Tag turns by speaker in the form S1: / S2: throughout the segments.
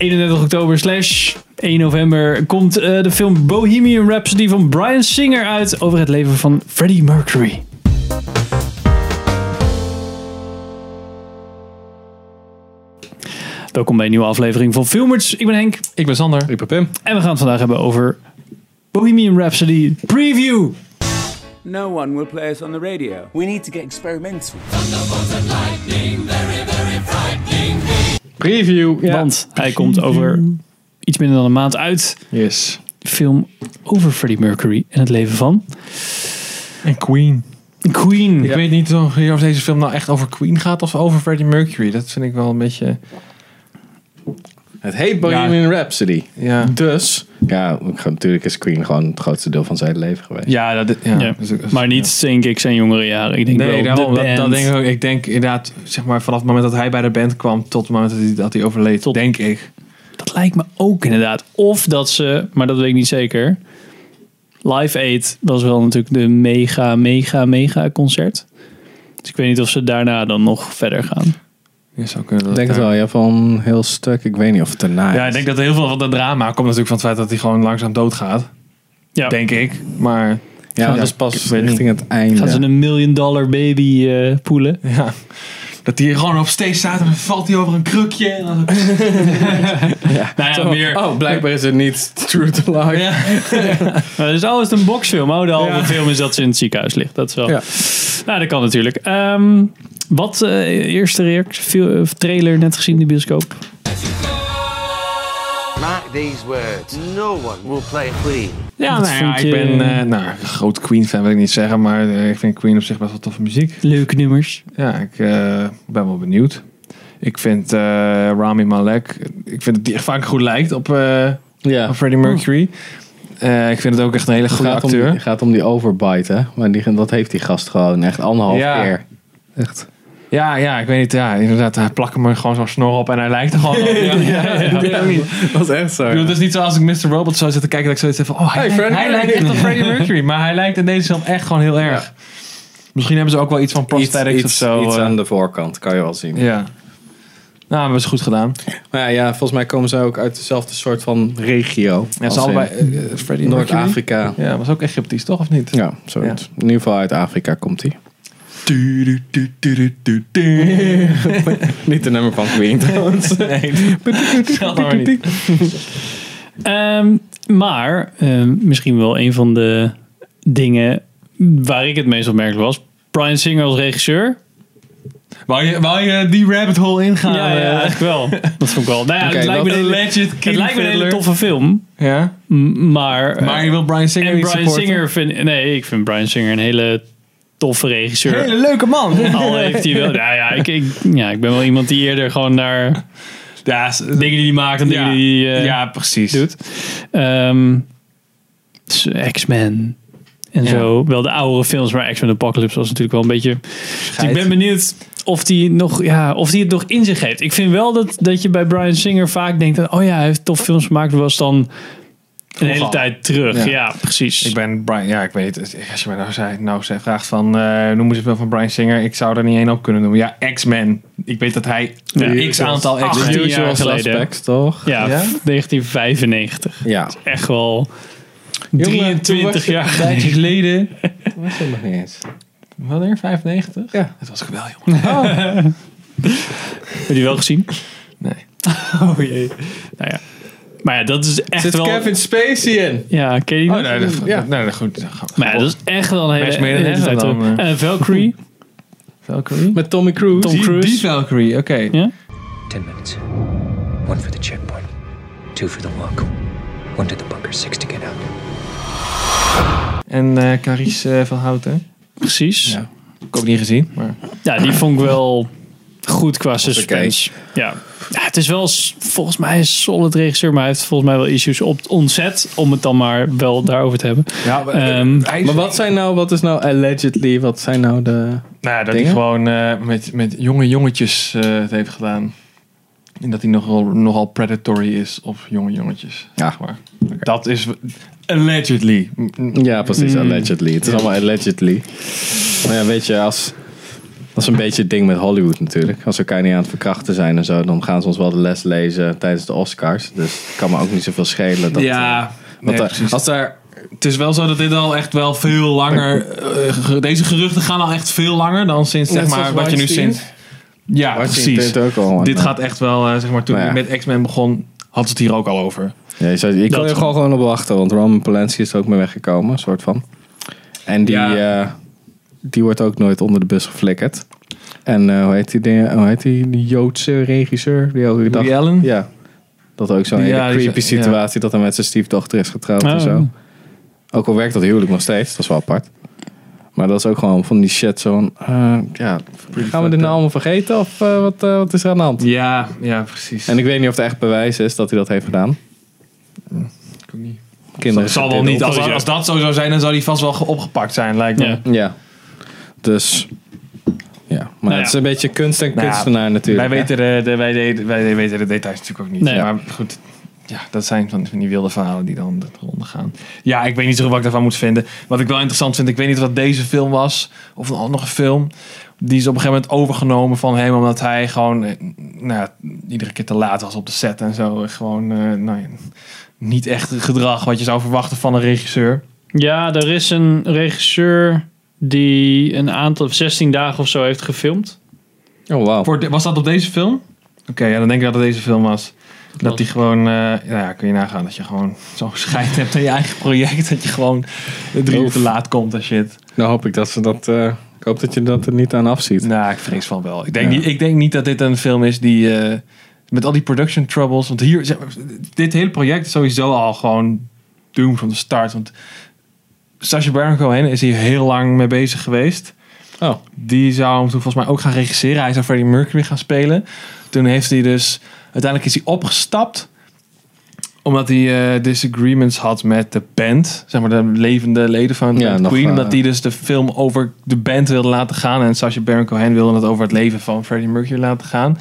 S1: 31 oktober slash 1 november komt eh, de film Bohemian Rhapsody van Brian Singer uit over het leven van Freddie Mercury. Welkom bij een nieuwe aflevering van Filmers. Ik ben Henk
S2: Ik ben Sander. Ik ben Pim.
S1: en we gaan het vandaag hebben over Bohemian Rhapsody Preview.
S3: No one will play us on the radio.
S4: We need to get experimental.
S2: Preview.
S1: Want hij komt over iets minder dan een maand uit.
S2: Yes.
S1: De film over Freddie Mercury en het leven van
S2: En Queen.
S1: Queen.
S2: Ik weet niet of of deze film nou echt over Queen gaat of over Freddie Mercury. Dat vind ik wel een beetje...
S5: Het heet Bohemian Rhapsody.
S2: Ja.
S5: Dus, ja, ik ga- natuurlijk is Queen gewoon het grootste deel van zijn leven geweest.
S2: Ja, dat, ja.
S1: Ja.
S2: Dus ik-
S1: Maar niet, denk ik, zijn jongere jaren. Ik denk
S2: Nee,
S1: wel
S2: daarom,
S1: de
S2: dat, dat
S1: band.
S2: denk ik ook. Ik denk inderdaad, zeg maar, vanaf het moment dat hij bij de band kwam tot het moment dat hij, dat hij overleed,
S1: Tot-
S2: denk ik.
S1: Dat lijkt me ook inderdaad. Of dat ze, maar dat weet ik niet zeker. Live Aid was wel natuurlijk de mega, mega, mega concert. Dus ik weet niet of ze daarna dan nog verder gaan.
S2: Je zou kunnen dat
S5: Ik denk het
S2: daar-
S5: wel, ja, van heel stuk. Ik weet niet of het daarna
S2: Ja, ik denk dat heel veel van dat drama komt natuurlijk van het feit dat hij gewoon langzaam doodgaat.
S1: Ja.
S2: Denk ik. Maar
S5: Ja,
S2: Ja,
S5: dat is
S2: ik
S5: pas
S2: weet niet.
S5: richting het einde.
S1: Gaan ze een million dollar baby eh, poelen?
S2: ja, dat hij gewoon op steeds staat en dan valt hij over een krukje. En dan
S1: Nou ja,
S5: Oh,
S1: meer.
S5: Oh, blijkbaar is het niet true to life.
S2: Ja.
S1: Maar het is altijd een boxfilm. Oh, de halve
S2: Ja.
S1: film is dat ze in het ziekenhuis ligt. Dat is wel.
S5: Ja.
S1: Nou, dat kan natuurlijk. Ehm, wat eh, eerste reactie, fil- eh, trailer net gezien in de bioscoop?
S6: Mark these words. No one will play Queen.
S1: Ja,
S2: nou ja, ik ben eh, nou, groot Queen-fan wil ik niet zeggen, maar eh, ik vind Queen op zich best wel toffe muziek.
S1: leuke nummers.
S2: Ja, ik eh, ben wel benieuwd. Ik vind eh, Rami Malek, ik vind dat die echt vaak goed lijkt op, eh,
S5: Ja.
S2: op Freddie Mercury. Eh, ik vind het ook echt een hele
S5: Het
S2: goede
S5: gaat om, die,
S2: acteur.
S5: het gaat om die overbite, hè. Maar die, dat heeft die gast gewoon echt anderhalf
S2: Ja.
S5: keer. Echt.
S2: Ja, ja, ik weet niet. Ja, inderdaad, hij plakt hem er gewoon zo'n snor op en hij lijkt er gewoon op. Ja, ik weet het ook niet.
S5: Dat is echt zo.
S2: Ik bedoel, het is niet zo als ik Mr. Robot zou zitten kijken dat ik zoiets heb van... Oh, hij,
S5: Hey, Freddie
S2: hij lijkt echt op Freddie Mercury. Maar hij lijkt in deze film echt gewoon heel erg. Misschien hebben ze ook wel iets van prosthetics of zo.
S5: iets
S2: eh.
S5: aan de voorkant, kan je wel zien.
S2: Ja. Nou, hebben ze goed gedaan.
S5: Maar ja, ja, volgens mij komen ze ook uit dezelfde soort van regio.
S2: Ja, ze
S5: als in
S2: allebei... eh, eh, Freddie Mercury.
S5: Noord-Afrika.
S2: Ja, was ook Egyptisch, toch? Of niet?
S5: Ja, zoiets. In ieder geval uit Afrika komt hij. Niet de nummer van Queen trouwens.
S2: Dat maar niet.
S1: Ehm, maar ehm, misschien wel een van de dingen waar ik het meest opmerkelijk was. Brian Singer als regisseur.
S2: Wou je, wou je die rabbit hole ingaan?
S1: ja, ja,
S2: eh?
S1: Nou, eigenlijk wel. Dat vond ik wel. Nou ja,
S5: Oké,
S1: het lijkt me
S5: dat-
S1: een hele,
S2: Legend
S1: het
S2: King
S1: lijkt me een hele
S2: Fiddler.
S1: toffe film.
S2: Ja?
S1: m- Maar, eh,
S2: Maar je wil Brian Singer
S1: en
S2: niet
S1: Brian
S2: supporten?
S1: Singer vind nee, ik vind Brian Singer een hele toffe regisseur.
S2: Hele leuke man.
S1: Al heeft hij wel. Nou ja, ik, ik, ja, ik ben wel iemand die eerder gewoon naar
S2: Ja,
S1: dingen die hij maakt en dingen
S2: Ja.
S1: die hij eh,
S2: ja precies.
S1: doet. Ehm, dus X-Men en
S2: Ja.
S1: zo. Wel de oudere films, maar X-Men Apocalypse was natuurlijk wel een beetje... Dus ik ben benieuwd of die, nog, ja, of die het nog in zich heeft. Ik vind wel dat, dat je bij Brian Singer vaak denkt... dat, oh ja, hij heeft tof films gemaakt. was dan een hele
S2: Vroeger.
S1: tijd terug. Ja,
S2: Ja.
S1: precies.
S2: Ik ben Brian, ja, ik weet het. Als je mij nou, zei, nou zei- vraagt van, eh noem eens een film van Brian Singer. Ik zou er niet één op kunnen noemen. Ja, X-Men. Ik weet dat hij
S1: Ja.
S2: x aantal
S1: Ach,
S2: X-Men...
S1: ja.
S5: Usual
S1: jaar geleden.
S5: Suspects, toch?
S1: ja,
S2: Ja?
S1: 1995.
S5: Ja.
S1: Echt wel
S5: Jongen, toen was
S1: 23
S5: je-
S1: jaar
S2: Een tijdje geleden.
S5: Dat was helemaal niet eens.
S2: Wanneer? 95?
S5: Ja.
S2: Dat was ik wel, jongen.
S1: Heb je die wel gezien?
S2: Nee.
S1: Oh jee. Nou ja. Maar ja, dat is echt
S5: Zit
S1: wel...
S5: Kevin Spacey in?
S1: Ja, ken je die
S2: Oh,
S1: nog?
S2: nee, dat,
S5: Ja.
S2: nee, dat goed. Dat gaan we-
S1: Maar ja, dat is echt wel een hele,
S2: Mads Meden
S1: hele
S2: heeft
S1: tijd
S2: dat dan,
S1: terug.
S2: eh.
S1: Eh, Valkyrie.
S2: Valkyrie?
S5: Met Tommy Cruise.
S1: Tom
S2: Die-
S1: Cruise.
S2: Die Valkyrie, oké.
S1: Ja?
S7: Ten minutes. One for the checkpoint, two for the walk, one to the bunker, six to get out.
S2: En eh Carice eh, van Houten.
S1: Precies. Ja.
S5: Ja.
S2: Ik ook niet gezien, maar...
S1: die vond ik wel goed qua suspense. Ja. ja. Het is wel s- volgens mij een solid regisseur, maar hij heeft volgens mij wel issues op ontzet. Om het dan maar wel daarover te hebben.
S2: Ja, maar, eh,
S1: Ehm,
S5: Maar wat zijn nou, wat is nou allegedly, wat zijn nou de...
S2: Nou ja, dat
S5: Dingen?
S2: hij gewoon eh, met, met jonge jongetjes eh, het heeft gedaan. En dat hij nogal, nogal predatory is op jonge jongetjes.
S5: Ja.
S2: zeg maar. Dat is... Allegedly. Hmm.
S5: Ja, precies, allegedly. Het is allemaal allegedly. Maar ja, weet je, als Dat is een beetje het ding met Hollywood natuurlijk. Als ze elkaar niet aan het verkrachten zijn en zo, dan gaan ze ons wel de les lezen tijdens de Oscars. Dus het kan me ook niet zoveel schelen. Dat,
S2: ja,
S5: Want
S2: nee,
S5: daar-
S2: precies.
S5: als daar
S2: het is wel zo dat dit al echt wel veel langer. eh, ge- deze geruchten gaan al echt veel langer dan sinds
S5: Net
S2: zeg maar
S5: zoals
S2: wat je nu
S5: Weinstein.
S2: sinds. Ja,
S5: Weinstein
S2: precies.
S5: deed het ook al, man.
S2: dit gaat echt wel, eh, zeg maar, toen
S5: Nou ja.
S2: ik met X-Men begon, had ze het hier ook al over.
S5: Ja, je zou- ik kan
S1: Dat-
S5: er gewoon, gewoon op wachten, want Roman Polanski is er ook mee weggekomen, een soort van. En die,
S2: Ja.
S5: eh, die wordt ook nooit onder de bus geflikkerd. En eh, hoe, heet die, ding- hoe heet die, die Joodse regisseur? Die elke dag,
S2: Allen?
S5: Ja, dat ook zo'n
S2: Ja,
S5: hele
S2: die-
S5: creepy
S2: ja.
S5: situatie dat hij met zijn stiefdochter is getrouwd en
S1: Oh.
S5: zo. Ook al werkt dat huwelijk nog steeds, dat is wel apart. Maar dat is ook gewoon van die shit zo'n... eh, ja, gaan we dit nou allemaal vergeten of eh, wat, eh, wat is er aan de hand?
S2: Ja, ja, precies.
S5: En ik weet niet of er echt bewijs is dat hij dat heeft gedaan. Kinderen
S2: Het zal wel niet, als, als dat zo zou zijn, dan zou die vast wel ge- opgepakt zijn, lijkt me.
S1: Ja.
S5: Ja. Dus. Ja. Maar
S1: ja.
S5: het is een beetje kunst en
S2: Nou ja,
S5: kunstenaar natuurlijk.
S2: Wij
S5: hè?
S2: weten de, de- wij, de- wij weten de details natuurlijk ook niet.
S1: Nee.
S2: Maar goed, ja, dat zijn van, van die wilde verhalen die dan de ronde gaan. Ja, ik weet niet zo goed wat ik daarvan moet vinden. Wat ik wel interessant vind, ik weet niet wat deze film was. Of een andere film. Die is op een gegeven moment overgenomen van hem. Omdat hij gewoon eh, nou, ja, iedere keer te laat was op de set en zo. En Gewoon eh, nou, ja, niet echt het gedrag wat je zou verwachten van een regisseur.
S1: Ja, er is een regisseur die een aantal, 16 dagen of zo heeft gefilmd.
S5: Oh, wauw.
S2: Voor de- was dat op deze film? Oké, ja, dan denk ik dat het deze film was. Dat die gewoon, eh, nou ja, kun je nagaan dat je gewoon zo'n scheid hebt aan je eigen project. Dat je gewoon drie uur te laat komt en shit.
S5: Nou hoop ik dat ze dat. eh, ik hoop dat je dat er niet aan afziet.
S2: Nou, ik vrees van wel. Ik denk,
S5: Ja.
S2: niet, ik denk niet dat dit een film is die, eh, met al die production troubles. Want hier, zeg maar, dit hele project is sowieso al gewoon doomed van de start. Want Sacha Baron Cohen is hier heel lang mee bezig geweest.
S5: Oh.
S2: Die zou hem toen volgens mij ook gaan regisseren. Hij zou Freddie Mercury gaan spelen. Toen heeft hij dus... Uiteindelijk is hij opgestapt. Omdat hij eh, disagreements had met de band. Zeg maar de levende leden van
S5: Ja,
S2: de
S5: nog,
S2: Queen.
S5: eh,
S2: omdat hij dus de film over de band wilde laten gaan. En Sacha Baron Cohen wilde het over het leven van Freddie Mercury laten gaan.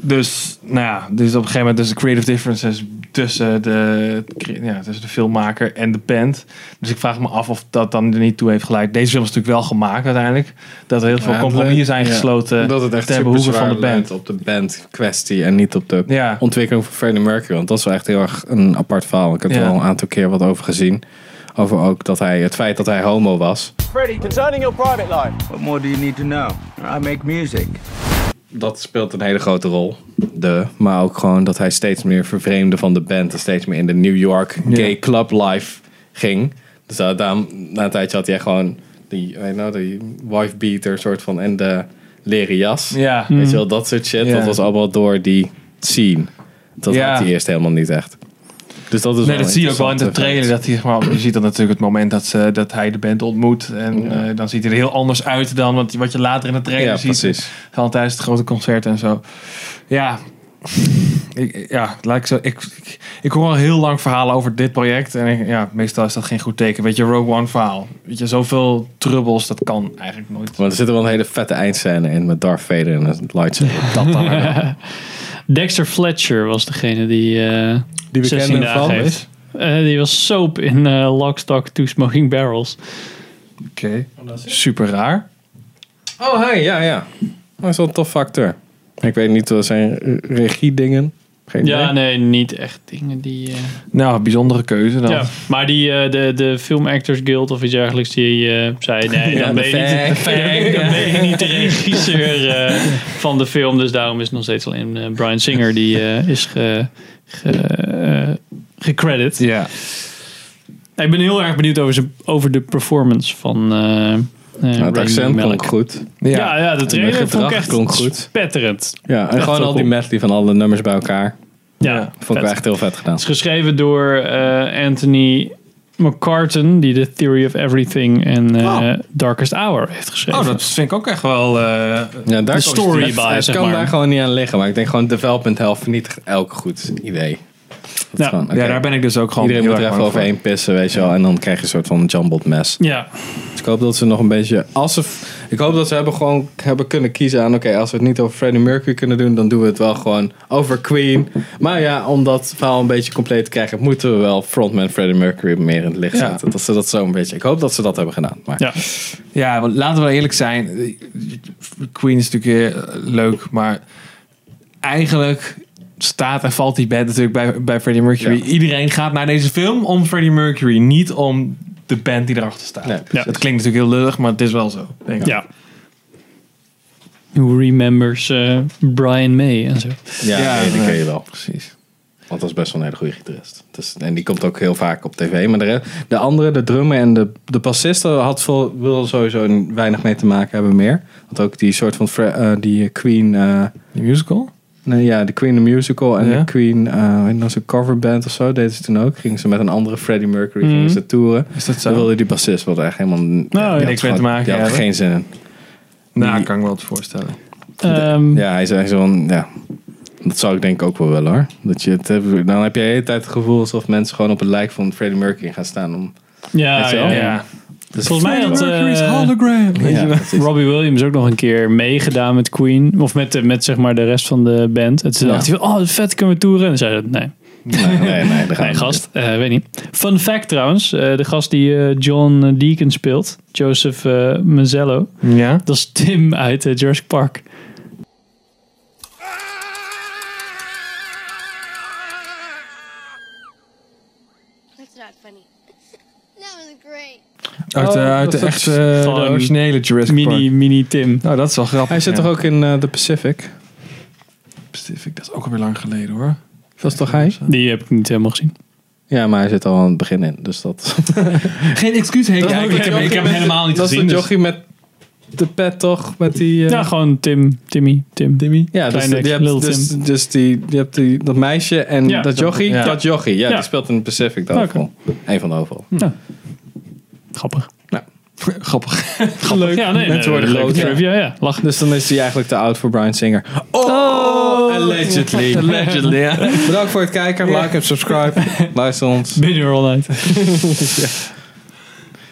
S2: Dus, nou ja, dus op een gegeven moment dus de creative differences tussen de, ja, tussen de filmmaker en de band. Dus ik vraag me af of dat dan er niet toe heeft geleid. Deze film is natuurlijk wel gemaakt uiteindelijk. Dat er heel veel
S5: Ja,
S2: compromissen zijn
S5: ja.
S2: gesloten
S5: Dat het echt
S2: ten
S5: super
S2: behoeve
S5: zwaar
S2: van de band.
S5: lijnt op de band kwestie en niet op de
S2: Ja.
S5: ontwikkeling van Freddie Mercury. Want dat is wel echt heel erg een apart verhaal. Ik heb er
S2: Ja.
S5: al een aantal keer wat over gezien. Over ook dat hij, het feit dat hij homo was.
S4: Freddie, concerning your private life.
S6: What more do you need to know? I make music.
S5: dat speelt een hele grote rol. De, maar ook gewoon dat hij steeds meer vervreemde van de band. En steeds meer in de New York gay club life ging. Dus daar, daarom, na een tijdje had hij gewoon die, weet je nou, die wife beater soort van. En de leren jas.
S2: Ja. Hmm.
S5: Weet je wel, dat soort shit.
S2: Ja.
S5: Dat was allemaal door die scene. Dat
S2: Ja.
S5: had hij eerst helemaal niet echt. Dus dat is
S2: Nee,
S5: wel
S2: dat zie je ook wel in de
S5: interessant,
S2: trailer. Dat hij, zeg maar, je ziet dan natuurlijk het moment dat, ze, dat hij de band ontmoet. En eh, dan ziet hij er heel anders uit dan wat, wat je later in de trailer
S5: Ja,
S2: ziet.
S5: precies.
S2: Van tijdens het grote concert en zo. Ja, ik, ja laat ik, zo, ik, ik, ik hoor al heel lang verhalen over dit project. En ik- ja, meestal is dat geen goed teken. Weet je, Rogue One verhaal. Weet je, zoveel troubles, dat kan eigenlijk nooit.
S5: Want er zit wel een hele vette eindscène in met Darth Vader en een lightsaber.
S2: Dat dan maar wel.
S1: Dexter Fletcher was degene die eh
S5: Die
S1: 16 dagen
S5: van
S1: heeft. Eh, die was soap in eh Lock, Stock, Two Smoking Barrels.
S2: Oké, super raar.
S5: Oh, hij, ja, ja. Hij is wel een tof facteur. Ik weet niet, wat zijn eh, regiedingen. Geen
S1: Ja,
S5: idee.
S1: nee, niet echt dingen die... eh,
S2: Nou, bijzondere keuze dan.
S1: Ja, maar die, eh, de, de Film Actors Guild of iets dergelijks, die eh, zei nee,
S5: Ja,
S1: dan, ben
S5: de
S1: je niet,
S5: fag.
S1: dan ben- dan ben je niet de regisseur eh, van de film. Dus daarom is het nog steeds alleen eh, Brian Singer die eh, is ge, ge, eh, gecredit.
S2: Ja.
S1: Ik ben heel erg benieuwd over, zijn- over de performance van eh eh,
S5: Nou, het
S1: Rami
S5: accent
S1: Malek.
S5: klonk goed.
S1: Ja, ja, de trailer vond
S5: gedrag
S1: ik echt
S5: klonk goed.
S1: spetterend.
S5: Ja, en
S1: Echt
S5: gewoon
S1: wel
S5: al die
S1: cool.
S5: medley van alle nummers bij elkaar.
S1: Ja,
S5: Vond ik
S1: vet.
S5: wel echt heel vet gedaan.
S1: Het is geschreven door eh, Anthony McCartan, die de Theory of Everything en eh,
S2: Oh.
S1: Darkest Hour heeft geschreven.
S2: Oh, dat vind ik ook echt wel. eh,
S5: Ja, daar
S1: de
S5: kon-
S1: story
S5: het,
S1: bij,
S5: het
S1: zeg
S5: kan
S1: maar.
S5: daar gewoon niet aan liggen. Maar ik denk gewoon development hell vernietigt elk goed idee. Dat is
S1: Ja.
S5: gewoon, oké.
S2: Ja, daar ben ik dus ook gewoon
S5: Iedereen
S2: heel
S5: moet er
S2: erg
S5: even
S2: bang voor.
S5: overheen pissen, weet je wel. En dan krijg je een soort van jumbled mess.
S1: Ja,
S5: Dus ik hoop dat ze nog een beetje... Als ze, ik hoop dat ze hebben gewoon hebben kunnen kiezen aan... Oké, als we het niet over Freddie Mercury kunnen doen... dan doen we het wel gewoon over Queen. Maar ja, om dat verhaal een beetje compleet te krijgen... moeten we wel frontman Freddie Mercury meer in het licht
S2: Ja.
S5: zetten. Dat ze dat zo een beetje... Ik hoop dat ze dat hebben gedaan. Maar
S1: ja.
S2: Ja, want laten we eerlijk zijn. Queen is natuurlijk eh, leuk, maar eigenlijk staat en valt die band natuurlijk bij, bij Freddie Mercury.
S5: Ja.
S2: Iedereen gaat naar deze film om Freddie Mercury, niet om de band die erachter staat.
S5: Nee, precies.
S2: Dat klinkt natuurlijk heel lullig, maar het is wel zo. Denk ik.
S1: ja. Who remembers eh, Brian May en zo.
S5: ja,
S2: Ja,
S5: nee, die
S2: nee.
S5: ken je wel.
S2: Precies.
S5: Want dat is best wel een hele goede gitarist. Dus, en die komt ook heel vaak op tv. Maar de, re- de andere, de drummer en de, de bassist, daar had veel, wil sowieso weinig mee te maken hebben meer. Want ook die soort van Fre- eh, die Queen, eh,
S2: De musical?
S5: nee, ja, de Queen the Musical en
S2: Ja.
S5: de Queen, eh weet je nou, zo'n coverband of zo, deden ze toen ook. Gingen ze met een andere Freddie Mercury, gingen ze toeren.
S2: Is dat zo?
S5: Dan wilde die bassist wat echt helemaal die had
S2: niks mee te
S5: gewoon-
S2: maken
S5: Die had er
S2: hebben.
S5: geen zin in.
S2: Nou, kan ik me wel voorstellen.
S1: Ehm,
S5: Ja, hij is echt zo'n. Ja. Dat zou ik denk ik ook wel willen hoor. Dat je het, hebt- dan heb je de hele tijd het gevoel alsof mensen gewoon op het lijk van Freddie Mercury gaan staan. Om,
S1: ja,
S5: Weet je wel?
S1: ja, ja. Volgens mij had eh,
S5: ja, precies.
S1: Robbie Williams ook nog een keer meegedaan met Queen. Of met, de- met zeg maar de rest van de band. En toen
S5: Ja.
S1: dacht hij van, oh vet, kunnen we toeren? En dan zei hij, nee,
S5: Nee, nee, nee, daar gaan
S1: nee
S5: we
S1: gast, eh, weet niet. Fun fact trouwens, eh, de gast die eh, John Deacon speelt, Joseph eh, Mazzello.
S2: Ja?
S1: Dat is Tim uit eh, Jurassic Park.
S8: That's not funny. that was great.
S2: Uit, de-
S5: Oh,
S2: uit de
S5: dat is
S2: echte, eh, de
S1: gewoon
S2: originele Jurassic
S1: Mini,
S2: Park.
S1: mini Tim.
S2: Nou, dat is wel grappig.
S5: Hij zit
S2: ja.
S5: toch ook in eh The Pacific?
S2: Pacific, dat is ook alweer lang geleden hoor.
S5: Was toch hij?
S1: Die heb ik niet helemaal gezien.
S5: Ja, maar hij zit al aan het begin in. Dus dat.
S2: Geen excuus, Henk.
S5: Dat is ook een jochie met- dat is een jochie met de pet toch? Met die. eh,
S1: Ja, gewoon Tim, Timmy, Tim. Timmy?
S5: Ja, dus,
S1: Kleine
S5: je
S1: Lil
S5: hebt, dus,
S1: Tim.
S5: dus die, je hebt die, dat meisje en
S1: Ja.
S5: dat jochie.
S2: Ja.
S5: Dat jochie, ja,
S1: Ja.
S5: die speelt in de Pacific de
S1: Oké.
S5: overal. Eén van de overal.
S1: Grappig.
S2: Grappig.
S1: Leuk. Ja, nee,
S5: Mensen worden
S1: leuke
S5: groter.
S1: trivia, ja. Lach.
S5: Dus dan is hij eigenlijk te oud voor Brian Singer. Oh, allegedly.
S2: Allegedly, ja.
S5: Bedankt voor het kijken. Like en subscribe. Luister ons.
S1: Ben je er al uit?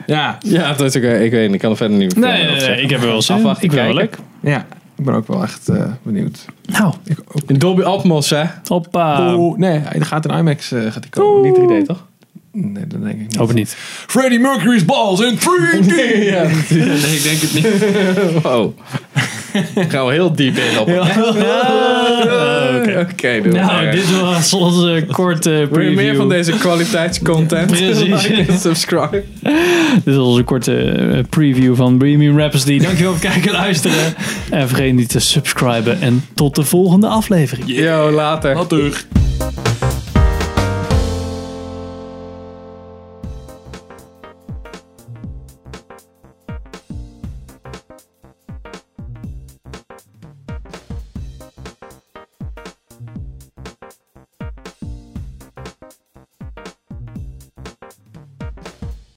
S2: Ja,
S5: Ja, dat is oké. Ik weet niet. Ik kan er verder niet meer
S1: Nee, nee, nee, ik heb er wel zin in.
S5: Afwachten,
S1: Ik vind het wel leuk.
S5: kijken.
S2: ja. Ik ben ook wel echt eh, benieuwd.
S1: Nou,
S5: In Dolby Atmos, hè?
S1: hoppa.
S2: oh, nee, hij gaat in IMAX eh, gaat die komen.
S5: Niet 3D, toch?
S2: Niet- Nee, dat denk ik niet.
S1: Hoop het niet.
S2: Freddie Mercury's balls in 3D!
S5: Nee, ik denk het niet. Wow. Gaan we heel diep in op. Oké, doen we
S1: Nou,
S5: maar.
S1: dit was onze korte
S5: Wil je
S1: preview.
S5: meer van deze kwaliteitscontent?
S1: Precies.
S5: Like en subscribe.
S1: Dit was onze korte eh, preview van Premium Rhapsody. Dankjewel voor het kijken en luisteren. En vergeet niet te subscriben. En tot de volgende aflevering.
S5: Yo, later.
S2: Wat terug.